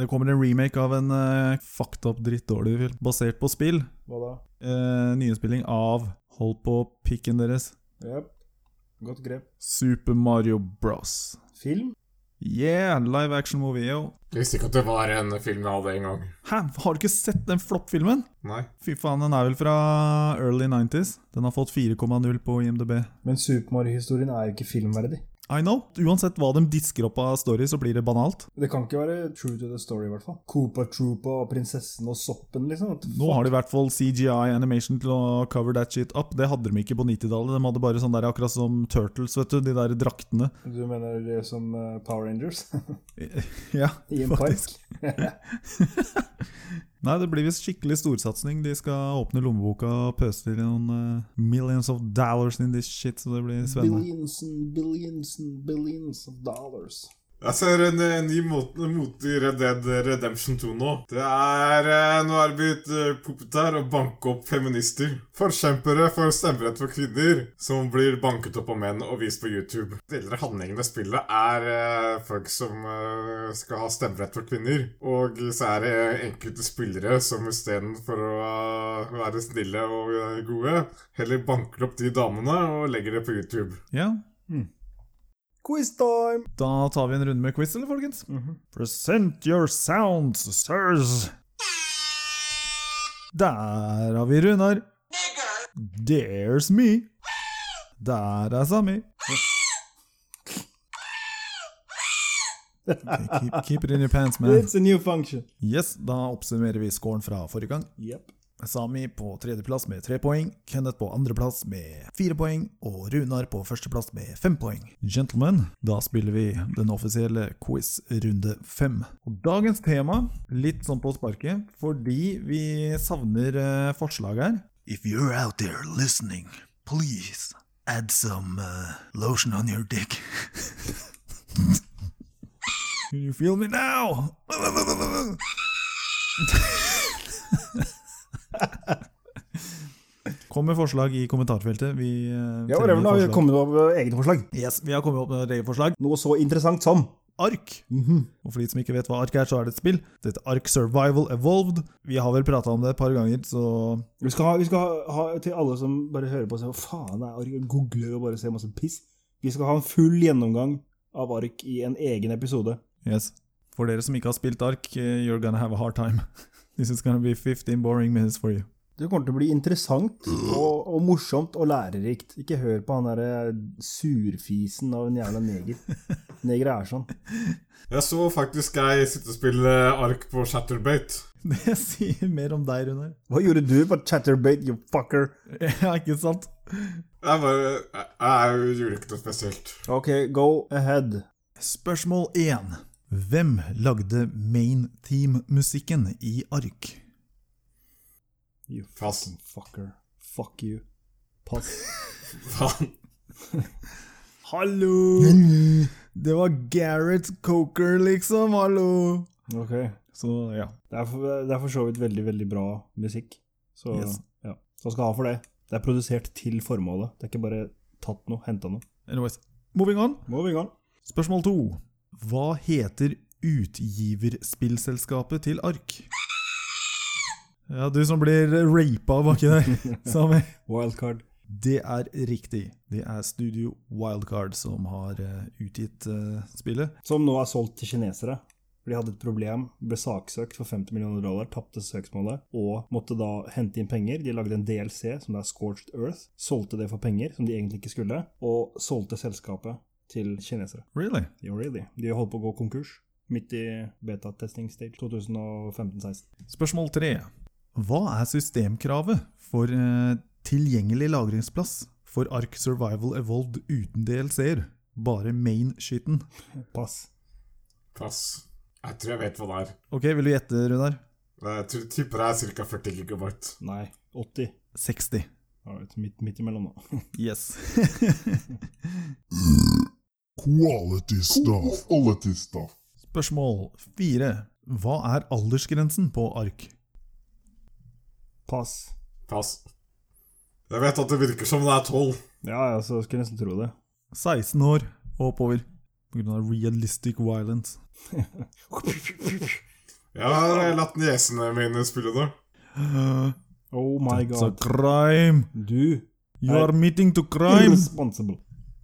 S2: Det kommer en remake av en eh, fucked up drittdårlig film, basert på spill.
S5: Hva da?
S2: Eh, nyinnspilling av Hold på pikken deres.
S5: Jep. Godt grep.
S2: Super Mario Bros.
S5: Film?
S2: Yeah, live action movie, yo.
S3: Jeg visste ikke at det var en film av det engang.
S2: Hæ, har du ikke sett den floppfilmen?
S3: Nei.
S2: Fy faen, den er vel fra early 90s. Den har fått 4,0 på IMDb.
S5: Men Super Mario-historien er jo ikke filmverdig.
S2: I know. Uansett hva de disker opp av story, så blir det banalt.
S5: Det kan ikke være true to the story, i hvert fall. Koopa Troopa og prinsessen og soppen, liksom. At
S2: Nå har de i hvert fall CGI animation til å cover that shit up. Det hadde de ikke på 90-tallet. De hadde bare sånn der akkurat som Turtles, vet du. De der draktene.
S5: Du mener det som eh, Power Rangers?
S2: Ja,
S5: I en
S2: faktisk.
S5: park?
S2: Nei, det blir visst skikkelig storsatsing. De skal åpne lommeboka og pøse til noen eh, millions of dollars in this shit, så det blir spennende.
S5: Billions and billions and billions of dollars.
S3: Jeg ser en, en ny mote, mote i Red Dead Redemption 2 nå. Det er eh, Nå er det blitt eh, poppet her å banke opp feminister. Forkjempere for stemmerett for kvinner som blir banket opp av menn og vist på YouTube. Deler av handlingen av spillet er eh, folk som eh, skal ha stemmerett for kvinner. Og så er det enkelte spillere som istedenfor å eh, være snille og eh, gode, heller banker opp de damene og legger det på YouTube.
S2: Ja,
S5: Quiz time!
S2: da tar vi en runde med quiz, eller, folkens?
S5: Mhm.
S2: Present your sounds, sirs! Der har vi Runar. There's me. Der er Sami. Okay, keep, keep it in your pants, man.
S5: It's a new function.
S2: Yes, da oppsummerer vi scoren fra forrige gang.
S5: Yep.
S2: Sami på tredjeplass med tre poeng, Kenneth på andreplass med fire poeng og Runar på førsteplass med fem poeng. Gentlemen, da spiller vi den offisielle quiz runde fem. Og dagens tema, litt sånn på sparket, fordi vi savner eh, forslag her. If you're out there listening, please add some uh, lotion on your dick. Can you feel me now? Kom med forslag i kommentarfeltet. Vi, eh,
S5: Ja,
S2: trenger
S5: Reven har
S2: forslag.
S5: kommet opp med egne forslag.
S2: Yes, vi har kommet opp med et eget forslag.
S5: Noe så interessant som mhm.
S2: Ark. Og for de som ikke vet hva ark er, så er det et spill. Det heter Ark Survival Evolved. Vi har vel prata om det et par ganger, så
S5: Vi skal, ha, vi skal ha, ha til alle som bare hører på og sier hva faen er ark, googler og bare ser masse piss. Vi skal ha en full gjennomgang av ark i en egen episode.
S2: yes. For dere som ikke har spilt ark, eh, you're gonna have a hard time. This is gonna be 15 boring minutes for you.
S5: Det kommer til å bli interessant og, og morsomt og lærerikt. Ikke hør på han derre surfisen av en jævla neger. Negere er sånn.
S3: Jeg så faktisk jeg sitte og spille ark på Chatterbate.
S2: Det sier mer om deg, Runar.
S5: Hva gjorde du på Chatterbate, you fucker?
S2: Ja, ikke sant?
S3: Jeg bare Jeg, jeg gjorde ikke noe spesielt.
S5: Ok, go ahead.
S2: Spørsmål 1. Hvem lagde main team-musikken i ark?
S5: You
S3: Pass.
S5: fucking fucker. Fuck you. Pass.
S3: Faen.
S2: Hallo! Det var Gareth Coker, liksom. Hallo!
S5: Ok. Det
S2: Så ja.
S5: er for, det er for så vidt veldig, veldig bra musikk. Så
S2: Yes.
S5: ja, så skal ha for det. Det er produsert til formålet. Det er ikke bare tatt noe, henta noe.
S2: Anyways. Moving on.
S5: Moving on.
S2: Spørsmål to. Hva heter utgiverspillselskapet til Ark? Ja, du som blir rapa baki der, Sami.
S5: Wildcard.
S2: Det er riktig. Det er Studio Wildcard som har eh, utgitt eh, spillet.
S5: Som nå er solgt til kinesere. For De hadde et problem, ble saksøkt for 50 millioner dollar, tapte søksmålet og måtte da hente inn penger. De lagde en DLC som det er Scorched Earth, solgte det for penger som de egentlig ikke skulle, og solgte selskapet til kinesere.
S2: Really?
S5: Jo, really. De holdt på å gå konkurs midt i beta-testing stage 2015-16.
S2: Spørsmål tre. Hva er systemkravet for eh, tilgjengelig lagringsplass for Ark Survival Evolved uten DLC-er? Bare main-skyten.
S5: Pass.
S3: Pass. Jeg tror jeg vet hva det er.
S2: Ok, vil du gjette, Runar?
S3: Men Jeg tror tipper det er ca. 40 gigabyte.
S5: Nei, 80.
S2: 60.
S5: Alright, midt, midt imellom, da.
S2: Yes.
S6: Quality stuff. Quality stuff.
S2: Spørsmål fire. Hva er aldersgrensen på ark?
S5: Pass.
S3: Pass. Jeg vet at det virker som det er 12.
S5: Ja, altså, jeg skulle nesten tro det.
S2: 16 år og oppover. På grunn av realistic violence.
S3: Jeg har latt niesene mine spille det.
S5: Oh my
S2: It's a
S5: god.
S2: crime!
S5: Du
S2: You are meeting to crime!
S5: Irresponsible.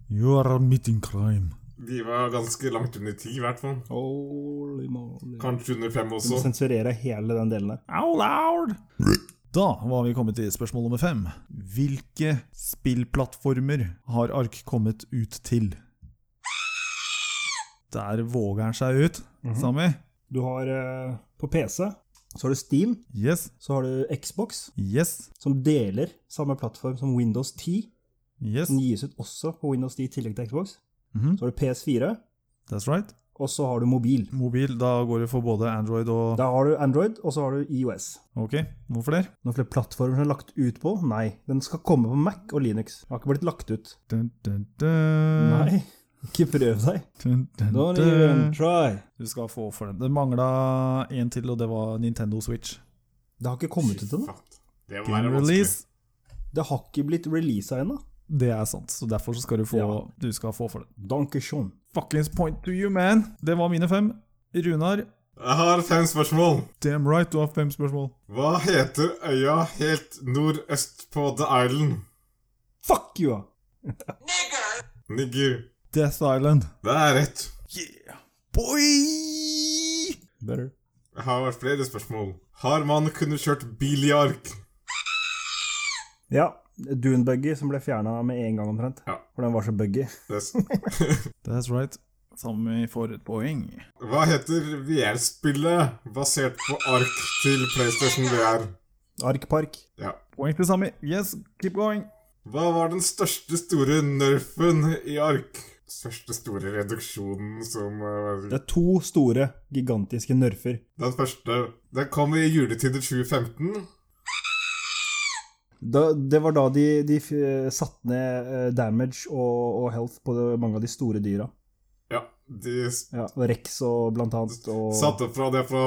S2: You are meeting crime.
S3: De var ganske langt under 10 i hvert fall.
S5: Holy moly.
S3: Kanskje under 5
S5: Du må
S3: også.
S5: sensurere hele den delen der.
S2: How loud? Da var vi kommet til spørsmål nummer fem. Hvilke spillplattformer har Ark kommet ut til? Der våger han seg ut, Sami.
S5: Du har eh, På PC så har du Steam,
S2: Yes,
S5: så har du Xbox,
S2: yes,
S5: som deler samme plattform som Windows 10.
S2: yes.
S5: Den gis ut også på Windows 10 i tillegg til Xbox.
S2: Mhm.
S5: Så har du PS4,
S2: That's right.
S5: og så har du mobil.
S2: Mobil, da går det for både Android og
S5: Da har du Android, og så har du IOS.
S2: Ok, noen flere?
S5: Noen flere plattformer som er lagt ut på? Nei. Den skal komme på Mac og Linux. Den har ikke blitt lagt ut.
S2: Dun, dun, dun.
S5: Nei. Ikke prøv deg.
S2: Dun, dun,
S5: Don't
S2: dun.
S5: even try.
S2: Du skal få for den. Det mangla én til, og det var Nintendo Switch.
S5: Det har ikke kommet ut ennå.
S3: Det må
S2: Game
S3: være vanskelig.
S2: release.
S5: Det har ikke blitt releasa ennå.
S2: Det er sant, så derfor så skal du få,
S5: Ja.
S2: du skal få for den.
S5: Dankeschön.
S2: Fuckings point to you, man! Det var mine fem. Runar,
S3: Jeg har fem spørsmål.
S2: damn right, du har fem spørsmål.
S3: Hva heter øya helt nordøst på The Island?
S5: Fuck you!
S3: Nigger.
S2: Death Island.
S3: Det er rett.
S2: Yeah, boy!
S5: Better.
S3: Jeg har flere spørsmål. Har man kunnet kjørt bil i ark?
S5: Ja. Dunebuggy som ble fjerna med en gang omtrent.
S3: Ja.
S5: For den var så buggy.
S3: Yes.
S2: That's right. Sami får et poeng.
S3: Hva heter VR-spillet basert på ark til PlayStation VR?
S5: Arkpark.
S3: Ja.
S2: Poeng til Sami. Yes, keep going.
S3: Hva var den største store nerfen i ark? Største store reduksjonen som eh,
S5: Det er to store, gigantiske nerfer.
S3: Den første Den kom i juletider 2015.
S5: Da, det var da de, de f- satte ned eh, damage og, og health på det- mange av de store dyra.
S3: Ja, de s-
S5: Ja, og Rex og blant annet. Og,
S3: satte opp fra det fra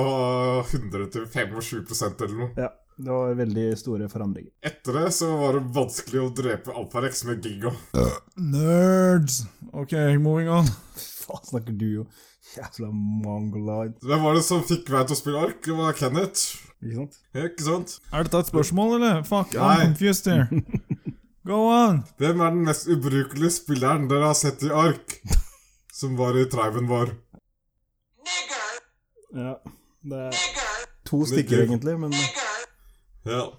S3: 100 til 25 eller noe.
S5: Ja, det var veldig store forandringer.
S3: Etter det så var det vanskelig å drepe Alparex med Giga.
S2: Nerds! Ok, moving on.
S5: Faen snakker du jo jævla mongoloid,
S3: Hvem var det som fikk meg til å spille ark? Det var Kenneth.
S5: ikke sant?
S3: Ja, Ikke sant?
S2: Er dette et spørsmål, eller? Fuck,
S3: Nei.
S2: I'm confused here. Go on!
S3: Hvem er den mest ubrukelige spilleren dere har sett i ark? Som var i triben vår.
S5: Ja, det er to stykker egentlig, men det
S3: Ja.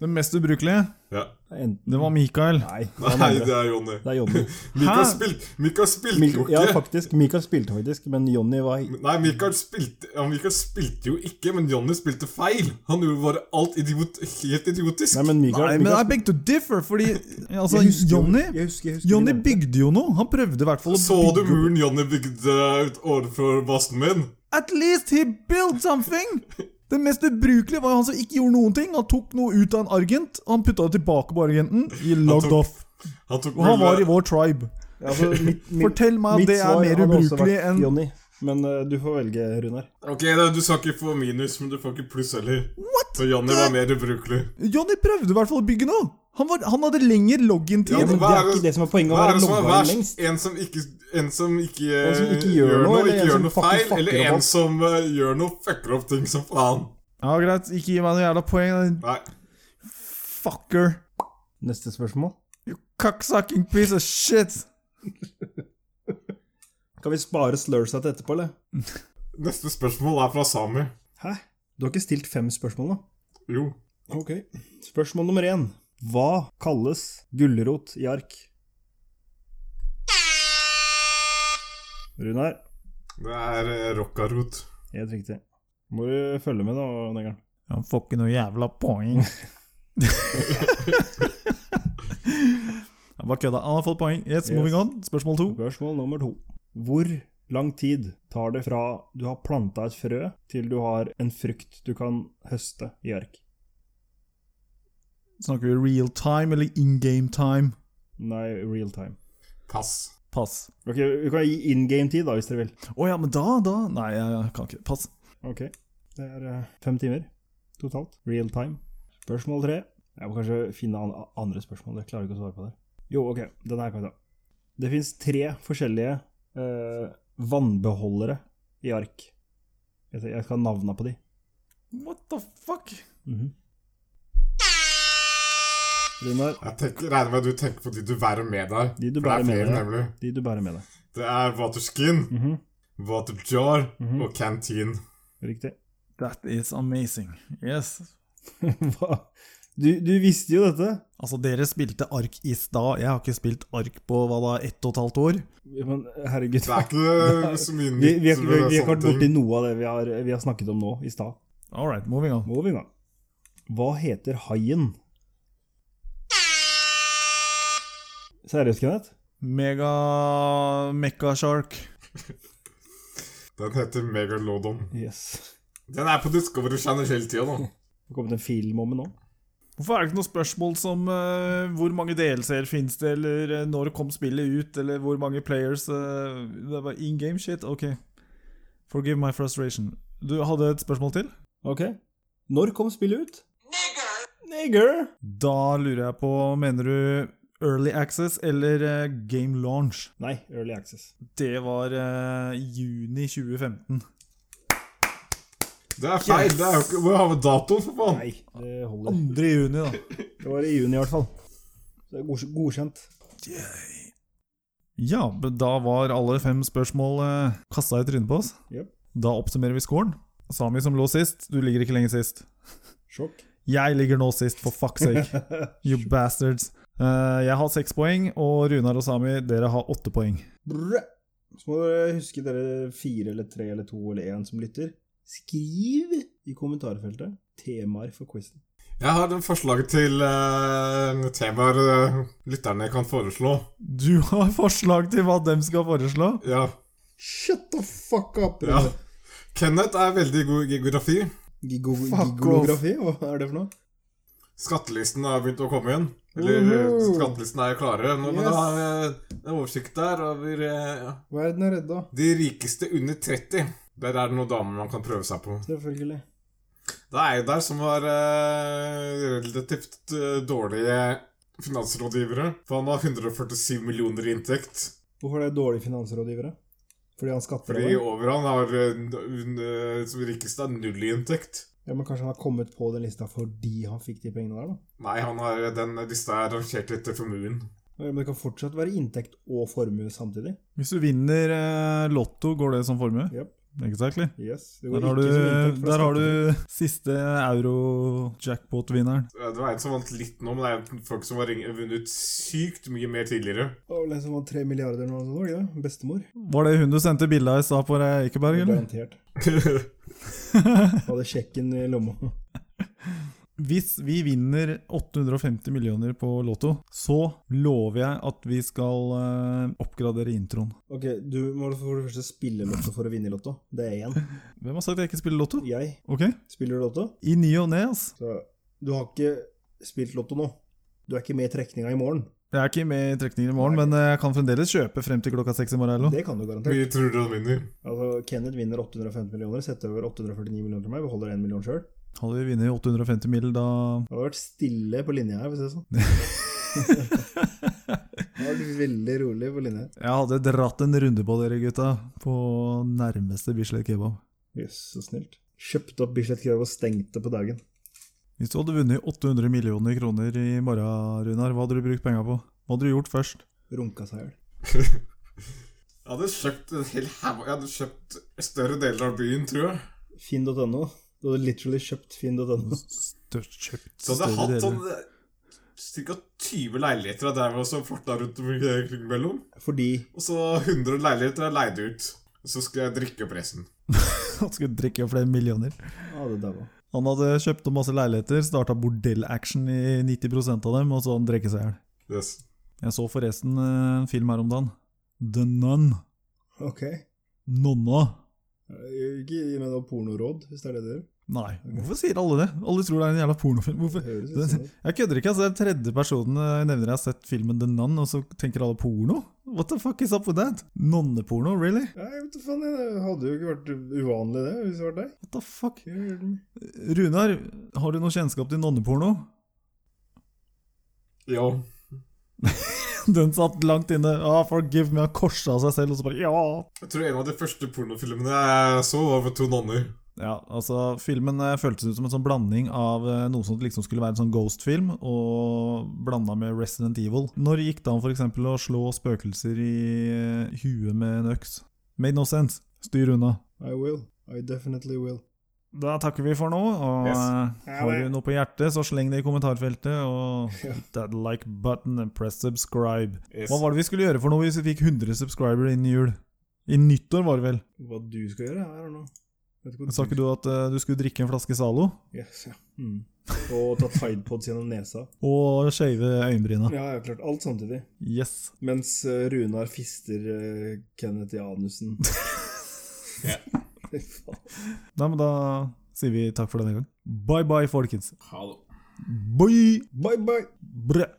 S2: Den mest ubrukelige,
S3: ja.
S5: er enten
S2: det var Mikael.
S5: Nei, det er, den
S3: Nei,
S5: andre.
S3: det er Jonny.
S5: Det er Jonny.
S3: Mikael
S2: Hæ?
S3: spilte Mikael spilte
S5: Mik
S3: jo
S5: ja,
S3: ikke.
S5: faktisk. Mikael spilte faktisk, men Jonny var
S3: Nei, Mikael spilte, ja, Mikael spilte jo ikke, men Jonny spilte feil. Han gjorde bare alt idiot, helt idiotisk.
S5: Nei, men Mikael,
S2: Nei, men I
S5: Mikael
S2: beg to differ, fordi altså,
S5: Jeg husker jo-
S2: Jonny
S5: jeg husker- jeg husker
S2: Jonny
S5: det.
S2: bygde jo noe. Han prøvde i hvert fall å
S3: Så du
S2: bygge
S3: muren Jonny bygde ut overfor basen min?
S2: At least he built something! Det mest ubrukelige var jo han som ikke gjorde noen ting. Han tok noe ut av en argent, og han putta det tilbake på argenten. He logged
S3: tok-
S2: off.
S3: Han tok
S2: Og han
S3: vel-
S2: var i vår tribe.
S5: Ja, altså, mitt, mitt,
S2: Fortell meg at
S5: mitt
S2: det er
S5: svar
S2: mer
S5: hadde også
S2: ubrukelig
S5: vært
S2: enn-
S5: Jonny, men eh, du får velge, Runar.
S3: Ok, da, du skal ikke få minus, men du får ikke pluss heller.
S2: What?
S3: Så Jonny var mer ubrukelig.
S2: Jonny prøvde i hvert fall å bygge noe. Han, var, han hadde lengre login-tid.
S3: Ja,
S5: Ja, men
S3: hva
S5: det
S3: er
S5: er
S3: det-
S5: ikke det som er poenget, å
S3: Hva er
S5: være
S3: det som er
S5: logga inn
S3: verst?
S5: lengst.
S3: En som ikke, en som ikke,
S5: En som ikke gjør noe, eller en
S3: ikke gjør
S5: som
S3: noe
S5: fucking
S3: feil, eller
S5: fucker opp
S3: en
S5: alt?
S3: som eh, gjør noe, fucker opp ting som faen.
S2: Ja, greit. Ikke gi meg noe jævla poeng, din
S3: Nei.
S2: fucker.
S5: Neste spørsmål.
S2: You cocksucking piece of shit.
S5: Kan vi spare slursa til etterpå, eller?
S3: Neste spørsmål er fra Sami.
S5: Hæ? Du har ikke stilt fem spørsmål, da?
S3: Jo.
S5: Ok. Spørsmål nummer én. Hva kalles gulrot i ark? Runar,
S3: Det er eh, rockarot.
S5: helt riktig. Må du følge med, da, Negeren.
S2: Han får ikke noe jævla poeng. Jeg bare kødda. Han har fått poeng. Yes, moving on. Spørsmål to.
S5: Spørsmål nummer to. Hvor
S1: lang tid tar det fra du har planta et frø, til du har en frukt du kan høste i ark.
S2: Snakker vi real time eller in game time?
S1: Nei, real time.
S3: Pass.
S2: Pass.
S1: Ok, Vi kan gi in game-tid, da, hvis dere vil.
S2: Å ja, men da, da Nei, jeg kan ikke. Pass.
S1: Ok. Det er eh, fem timer totalt. Real time. Spørsmål tre. Jeg må kanskje finne an andre spørsmål. Jeg klarer ikke å svare på det. Jo, ok. Den her kan jeg ta. Det fins tre forskjellige eh, vannbeholdere i ark. Jeg skal- Jeg skal ha navna på de.
S2: What the fuck?
S1: Mhm. Runar,
S3: Jeg tenker, regner med at du tenker på de du bærer med deg.
S1: De du
S3: For det
S1: bærer
S3: er
S1: med
S3: flere,
S1: deg.
S3: nemlig.
S1: de du bærer med deg.
S3: Det er waterskin,
S1: Mhm,
S3: water jar
S1: Mhm.
S3: og canteen.
S1: Riktig.
S2: That is amazing. Yes.
S1: Hva? Du, du visste jo dette!
S2: Altså, dere spilte ark i stad. Jeg har ikke spilt ark på hva da, ett og et halvt år?
S1: Men herregud.
S3: Det er ikke så mye
S1: Vi,
S3: nytt.
S1: vi, har ikke- vi, vi har ikke
S3: sånne
S1: vært
S3: ting.
S1: borti noe av det vi har, vi har snakket om nå i stad.
S2: All right, moving on.
S1: Moving on. Hva heter haien? Seriøst, Kenneth?
S2: Mega Mekka Shark.
S3: Den heter Megalodon.
S1: Yes.
S3: Den er på Discovery Channel hele tida nå.
S1: Det har kommet en film om den nå.
S2: Hvorfor er det ikke noe spørsmål som eh, hvor mange DLC-er finnes det, eller eh, når kom spillet ut, eller hvor mange players eh, Det var in game shit. Ok. Forgive my frustration. Du hadde et spørsmål til?
S1: Ok. Når kom spillet ut? Nigger!
S2: Da lurer jeg på, mener du Early Access eller eh, Game Launch?
S1: Nei, Early Access.
S2: Det var eh, juni 2015.
S3: Det er feil. Det er jo ikke Hvor har vi datoen, for faen?
S1: Nei, det holder.
S2: 2. juni, da.
S1: Det var i juni i hvert fall. Så det er godkj- godkjent.
S2: Ja, men da var alle fem spørsmål eh, kasta i trynet på oss.
S1: Jep.
S2: Da oppsummerer vi scoren. Sami som lå sist, du ligger ikke lenger sist.
S1: Sjokk.
S2: Jeg ligger nå sist, for fuck's sake. You bastards. Eh, jeg har seks poeng, og Runar og Sami, dere har åtte poeng.
S1: Brø. Så må dere huske dere fire eller tre eller to eller én som lytter. Skriv i kommentarfeltet temaer for quizen.
S3: Jeg har den forslaget til eh, temaer eh, lytterne kan foreslå.
S2: Du har forslag til hva dem skal foreslå?
S3: Ja.
S1: Shut the fuck up!
S3: ja. Kenneth er veldig god i geografi.
S1: Gigo
S2: Fuck
S1: gigolografi? Hva er det for noe?
S3: Skattelisten har begynt å komme igjen. Eller eh, skattelisten er klare. Nå må du ha eh, en oversikt der over eh,
S1: Verden er redda.
S3: de rikeste under 30. Der er det noen damer man kan prøve seg på.
S1: Selvfølgelig.
S3: Det er jo der som har eh, relativt eh, dårlige finansrådgivere. For han har 147 millioner i inntekt.
S1: Hvorfor er det dårlige finansrådgivere? Fordi han skatter av
S3: Fordi
S1: det?
S3: over han har eh, n- eh, som rikeste er null i inntekt.
S1: Ja, men Kanskje han har kommet på den lista fordi han fikk de pengene der, da?
S3: Nei, han har eh, den lista er rangert etter formuen.
S1: Ja, Men det kan fortsatt være inntekt og formue samtidig.
S2: Hvis du vinner eh, Lotto, går det som formue?
S1: Yep.
S2: Exactly.
S1: Yes. Det går
S2: Der har
S1: ikke som
S2: du,
S1: inntekt fra
S2: der har
S1: skatter.
S2: du siste euro-jackpot-vinneren.
S3: Eh, Det var en som vant litt nå, men det er folk som har ring- vunnet sykt mye mer tidligere.
S1: Det var vel en som vant tre milliarder eller noe sånt, var det ikke det? Bestemor.
S2: Var det hun du sendte bilde av i stad på deg, Eikeberg? Eller?
S1: Garantert. Hadde sjekken i lomma.
S2: Hvis vi vinner 850 millioner på Lotto, så lover jeg at vi skal eh, oppgradere introen.
S1: Ok, du må for det første spille lotto for å vinne i lotto. Det er én.
S2: Hvem har sagt jeg ikke spiller Lotto?
S1: Jeg.
S2: Ok,
S1: Spiller du lotto?
S2: I ny og ne, ass.
S1: Så du har ikke spilt lotto nå. Du er ikke med i trekninga i morgen.
S2: Jeg er ikke med i trekningen i morgen, men eh, jeg kan fremdeles kjøpe frem til klokka seks i morgen. eller noe.
S1: Det kan du garantert.
S3: Mye tror du han vinner.
S1: Altså, Kenneth vinner 815 millioner, setter over 849 millioner til meg, beholder 1 million sjøl.
S2: Hadde vi vunnet 850 mill., da
S1: Det hadde vært stille på linja her, for å si det sånn. det hadde vært veldig rolig på linja.
S2: Jeg hadde dratt en runde på dere, gutta. På nærmeste Bislett Kebab.
S1: Jøss, så snilt. Kjøpte opp Bislett Krav og stengte på dagen.
S2: Hvis du hadde vunnet 800 millioner kroner i morgen, Runar, hva hadde du brukt penga på? Hva hadde du gjort først?
S1: Runka seg i hjel.
S3: Jeg hadde kjøpt en hel haug Jeg hadde kjøpt større deler av byen, tror jeg.
S1: Finn.no. Du hadde literally kjøpt Finn.no.
S2: Størst kjøpt
S3: Så hadde jeg hatt sånn ca. 20 leiligheter av der som farta rundt omkring mellom.
S1: Fordi
S3: Og så 100 leiligheter er leid ut. Og så skulle jeg drikke opp resten.
S2: Han skulle drikke opp flere millioner.
S1: Ja, det daua.
S2: Han hadde kjøpt opp masse leiligheter, starta bordellaction i 90 av dem, og så han drikke seg i hjel.
S3: Yes.
S2: Jeg så forresten eh, en film her om dagen. The Nun.
S1: Ok.
S2: Nonna.
S5: Ikke gi meg noe pornoråd, hvis det er det du gjør.
S2: Nei, hvorfor sier alle det? Alle tror det er en jævla pornofilm.
S5: Det
S2: Hvorfor?
S5: høres ut som det.
S2: Jeg kødder ikke, altså. Det er tredje personen jeg nevner jeg har sett filmen The Nun, og så tenker alle porno? What the fuck is up with that? Nonneporno, really?
S5: Nei, jeg vet da faen, jeg. det hadde jo ikke vært uvanlig det, hvis det var deg.
S2: What the fuck?
S5: Hva gjør den?
S2: Runar, har du noe kjennskap til nonneporno?
S3: Jo.
S2: Den satt langt inne. Ah, forgive me, har korsa seg selv, og så bare ja.
S3: Jeg tror en av de første pornofilmene jeg så, var med to nonner.
S2: Ja, altså Filmen eh, føltes ut som en sånn blanding av eh, noe som liksom skulle være en sånn Ghost-film, og blanda med Resident Evil. Når gikk det an for eksempel å slå spøkelser i eh, huet med en øks? Made no sense. Styr unna.
S5: I will. I definitely will.
S2: Da takker vi for nå, og
S3: Yes.
S2: eh, har du noe på hjertet, så sleng det i kommentarfeltet, og hit that like button and press subscribe.
S3: Yes.
S2: Hva var det vi skulle gjøre for noe hvis vi fikk 100 subscribere innen jul? I nyttår, var det vel?
S5: Hva du skal gjøre, er det nå. Vet ikke hva
S2: Sa ikke du at eh, du skulle drikke en flaske Zalo?
S5: Yes, ja. Mm. Og ta Tidepods gjennom nesa.
S2: Og shave øyenbryna.
S5: Ja, ja, klart. Alt samtidig.
S2: Yes.
S5: Mens eh, Runar fister eh, Kenneth i anusen.
S3: Ja.
S5: Fy faen.
S2: Nei, men da sier vi takk for denne gang. Bye bye, folkens.
S3: Ha det.
S2: Bye!
S5: Bye, bye!
S2: Brø.